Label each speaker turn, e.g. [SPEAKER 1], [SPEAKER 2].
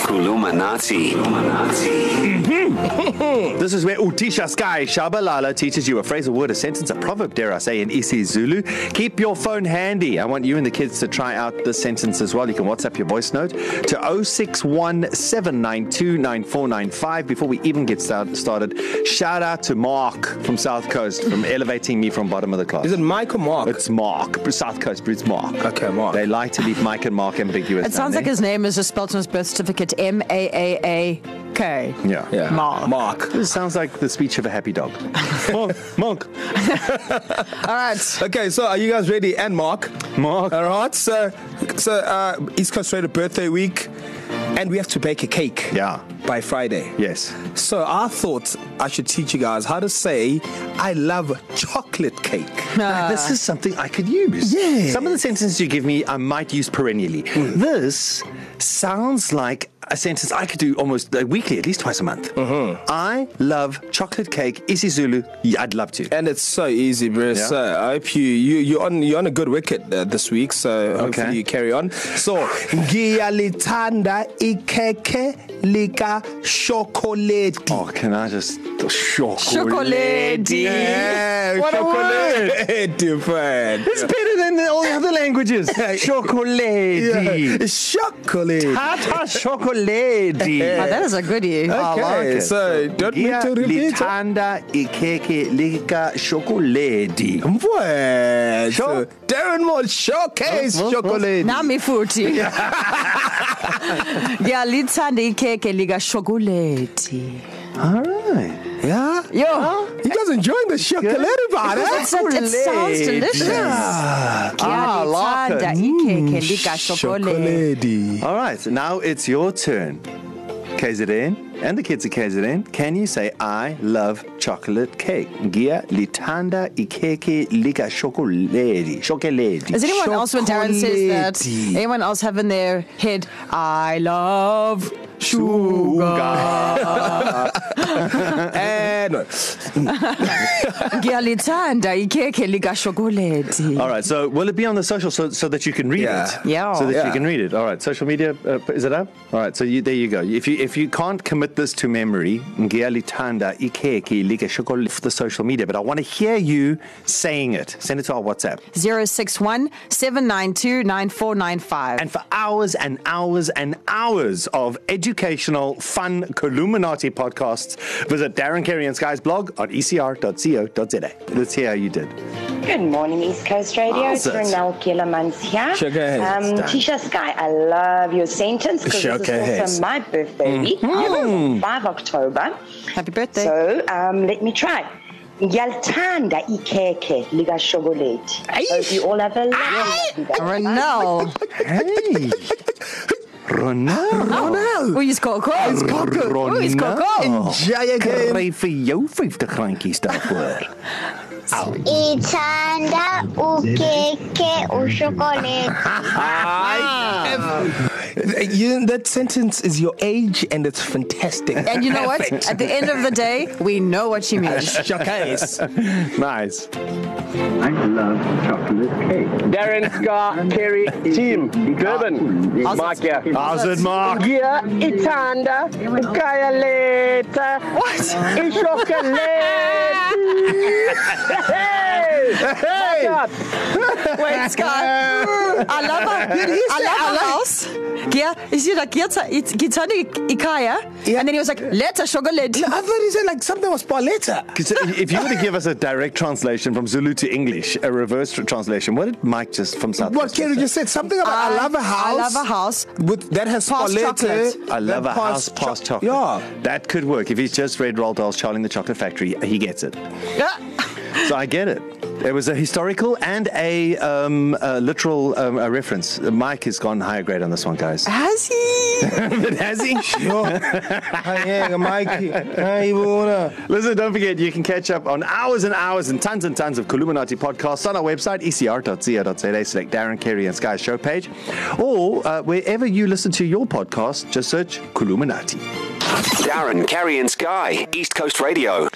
[SPEAKER 1] Kulumanati.
[SPEAKER 2] This is where Utisha Sky Shabalala teaches you a phrase, a word, a sentence, a proverb, dare I say, in isiZulu. Keep your phone handy. I want you and the kids to try out this sentence as well. You can WhatsApp your voice note to 0617929495. Before we even get start, started, shout out to Mark from South Coast from elevating me from bottom of the class.
[SPEAKER 3] Mm. Is it Mike or Mark?
[SPEAKER 2] It's Mark, South Coast, it's Mark.
[SPEAKER 3] Okay, Mark.
[SPEAKER 2] They like to leave Mike and Mark ambiguous.
[SPEAKER 4] It sounds
[SPEAKER 2] don't
[SPEAKER 4] like his name is just spelled on his birth certificate M A A A
[SPEAKER 2] they?
[SPEAKER 4] K.
[SPEAKER 2] yeah.
[SPEAKER 3] yeah.
[SPEAKER 4] Mark.
[SPEAKER 3] Mark.
[SPEAKER 2] This sounds like the speech of a happy dog. Monk, monk,
[SPEAKER 4] All right.
[SPEAKER 3] Okay, so are you guys ready? And Mark.
[SPEAKER 2] Mark.
[SPEAKER 3] All right, so so uh, East Coast Raider birthday week, and we have to bake a cake.
[SPEAKER 2] Yeah.
[SPEAKER 3] By Friday.
[SPEAKER 2] Yes.
[SPEAKER 3] So I thought I should teach you guys how to say I love chocolate cake.
[SPEAKER 2] Uh, this is something I could use.
[SPEAKER 3] Yes.
[SPEAKER 2] Some of the sentences you give me, I might use perennially. Mm. This sounds like a sentence I could do almost uh, weekly, at least twice a month. Mm-hmm. I love chocolate cake. isiZulu. Yeah, I'd love to.
[SPEAKER 3] And it's so easy, bro. Yeah.
[SPEAKER 2] Yeah.
[SPEAKER 3] So I hope you, you you're on you're on a good wicket uh, this week. So hopefully
[SPEAKER 2] Okay.
[SPEAKER 3] you carry on. So ngiyalithanda ikeke lika chocolate.
[SPEAKER 2] Oh, can I just chocolate?
[SPEAKER 4] Chocolate.
[SPEAKER 3] Yeah,
[SPEAKER 2] What a
[SPEAKER 3] Eh, chocolate. Different.
[SPEAKER 2] It's better than all the other languages. chocolate.
[SPEAKER 3] Yeah. Chocolate.
[SPEAKER 4] Ah,
[SPEAKER 2] Tata chocolate.
[SPEAKER 4] Wow, that is a E. goodie.
[SPEAKER 2] I
[SPEAKER 3] Okay,
[SPEAKER 2] like it.
[SPEAKER 3] so don't need to repeat it.
[SPEAKER 2] Litanda ikeke lika chocolate.
[SPEAKER 3] Mfwethu.
[SPEAKER 2] Sure.
[SPEAKER 3] Darren Moore showcase
[SPEAKER 2] Huh? Huh?
[SPEAKER 4] Mm,
[SPEAKER 2] Huh?
[SPEAKER 3] chocolate.
[SPEAKER 4] Nami futhi. Ngiyalithanda ikhekhe lika chocolate.
[SPEAKER 2] All right.
[SPEAKER 3] Yeah.
[SPEAKER 4] Yo.
[SPEAKER 3] You guys enjoying the chocolate eh? about
[SPEAKER 4] It
[SPEAKER 3] it?
[SPEAKER 4] sounds, it sounds
[SPEAKER 2] Chocolate.
[SPEAKER 4] delicious.
[SPEAKER 2] Ah, like
[SPEAKER 4] Ngiyalithanda
[SPEAKER 2] it.
[SPEAKER 3] Mm,
[SPEAKER 4] ikhekhe lika Mm, chocolate.
[SPEAKER 3] Chocolate.
[SPEAKER 2] All right, now it's your turn. KZN and the kids at KZN, can you say I love chocolate cake? Gia litanda ikeke lika chocolate. Chocolate.
[SPEAKER 4] Is anyone else when Darren says that?
[SPEAKER 2] Chocolatey.
[SPEAKER 4] Anyone else have in their head, I love sugar.
[SPEAKER 3] And
[SPEAKER 4] Ngiyalithanda ikhekhe lika chocolate.
[SPEAKER 2] All right, so will it be on the social so, so that you can read
[SPEAKER 3] Yeah.
[SPEAKER 2] it?
[SPEAKER 4] Yeah.
[SPEAKER 2] So that
[SPEAKER 3] Yeah.
[SPEAKER 2] you can read it. All right, social media uh, is it up? All right, so you, there you go. If you if you can't commit this to memory, ngiyalithanda ikeke lika chocolate for the social media, but I want to hear you saying it. Send it to our WhatsApp.
[SPEAKER 4] 061 792 9495.
[SPEAKER 2] and for hours and hours and hours of educational, fun Columinati podcasts, visit Darren Carey and Sky's blog on E ecr.co.za. Let's hear how you did.
[SPEAKER 5] Good morning, East Coast Radio.
[SPEAKER 2] How's
[SPEAKER 5] It's
[SPEAKER 2] it?
[SPEAKER 5] Renelle Kielemans here.
[SPEAKER 3] Sugar heads,
[SPEAKER 5] Um,
[SPEAKER 2] Dan.
[SPEAKER 5] Tisha Sky, I love your sentence because this is
[SPEAKER 3] Sugar
[SPEAKER 5] also
[SPEAKER 3] heads.
[SPEAKER 5] my birthday week, mm-hmm. 5 October.
[SPEAKER 4] Happy birthday.
[SPEAKER 5] So um, let me try. Ngiyalithanda ikhekhe lika chocolate. Hope you all have a lovely day.
[SPEAKER 4] Renelle.
[SPEAKER 2] Hey!
[SPEAKER 4] Oh.
[SPEAKER 2] Ronaldo!
[SPEAKER 4] Renelle. Oei, is Coco. Oei, is Coco. Oei, is Coco.
[SPEAKER 3] Jaya game.
[SPEAKER 2] Kry vir jou 50 randjies daarvoor.
[SPEAKER 6] ithanda ukhekhe ushokoledi
[SPEAKER 3] Ah. You, that sentence is your age and it's fantastic.
[SPEAKER 4] And you know what? At the end of the day, we know what she means.
[SPEAKER 3] Showcase.
[SPEAKER 2] nice.
[SPEAKER 7] I love chocolate cake.
[SPEAKER 8] Darren Scar, Kerry, team, Durban.
[SPEAKER 4] How's it?
[SPEAKER 8] Mark here.
[SPEAKER 2] How's it, Mark?
[SPEAKER 8] Gia Itanda, Kaya Leta. What? Ishokaleti. hey! Hey! Up.
[SPEAKER 4] Wait, Scott. I love her. Did he I
[SPEAKER 3] say
[SPEAKER 4] love
[SPEAKER 3] I
[SPEAKER 4] her
[SPEAKER 3] like-
[SPEAKER 4] house. Gia, is he like, Gia, it's Gitani Ikaya? Yeah. And then he was like, letter, sugar lid.
[SPEAKER 3] I thought he said like something was paleta.
[SPEAKER 2] 'Cause If you were to give us a direct translation from Zulu to English, a reverse tr- translation, what did Mike just from South
[SPEAKER 3] What Kerry just said something about I, I love a house.
[SPEAKER 4] I love a house.
[SPEAKER 3] with that has
[SPEAKER 4] Past
[SPEAKER 3] paleta.
[SPEAKER 4] chocolate.
[SPEAKER 2] I love a
[SPEAKER 3] that
[SPEAKER 2] house
[SPEAKER 3] cho-
[SPEAKER 2] past chocolate.
[SPEAKER 3] Yeah.
[SPEAKER 2] That could work. If he's just read Roald Dahl's Charlie and the Chocolate Factory, he gets it. So I get it. It was a historical and a, um, a literal um, a reference. Mike has gone higher grade on this one, guys.
[SPEAKER 4] Has he?
[SPEAKER 2] but has he?
[SPEAKER 3] Yo, hang on, Mikey. Hey, Bona.
[SPEAKER 2] Listen, don't forget, you can catch up on hours and hours and tons and tons of Columinati podcasts on our website, E ecr.co.za, select Darren Carey and Sky's show page, or uh, wherever you listen to your podcast, just search Columinati.
[SPEAKER 1] Darren, Carrie, and Sky. East Coast Radio.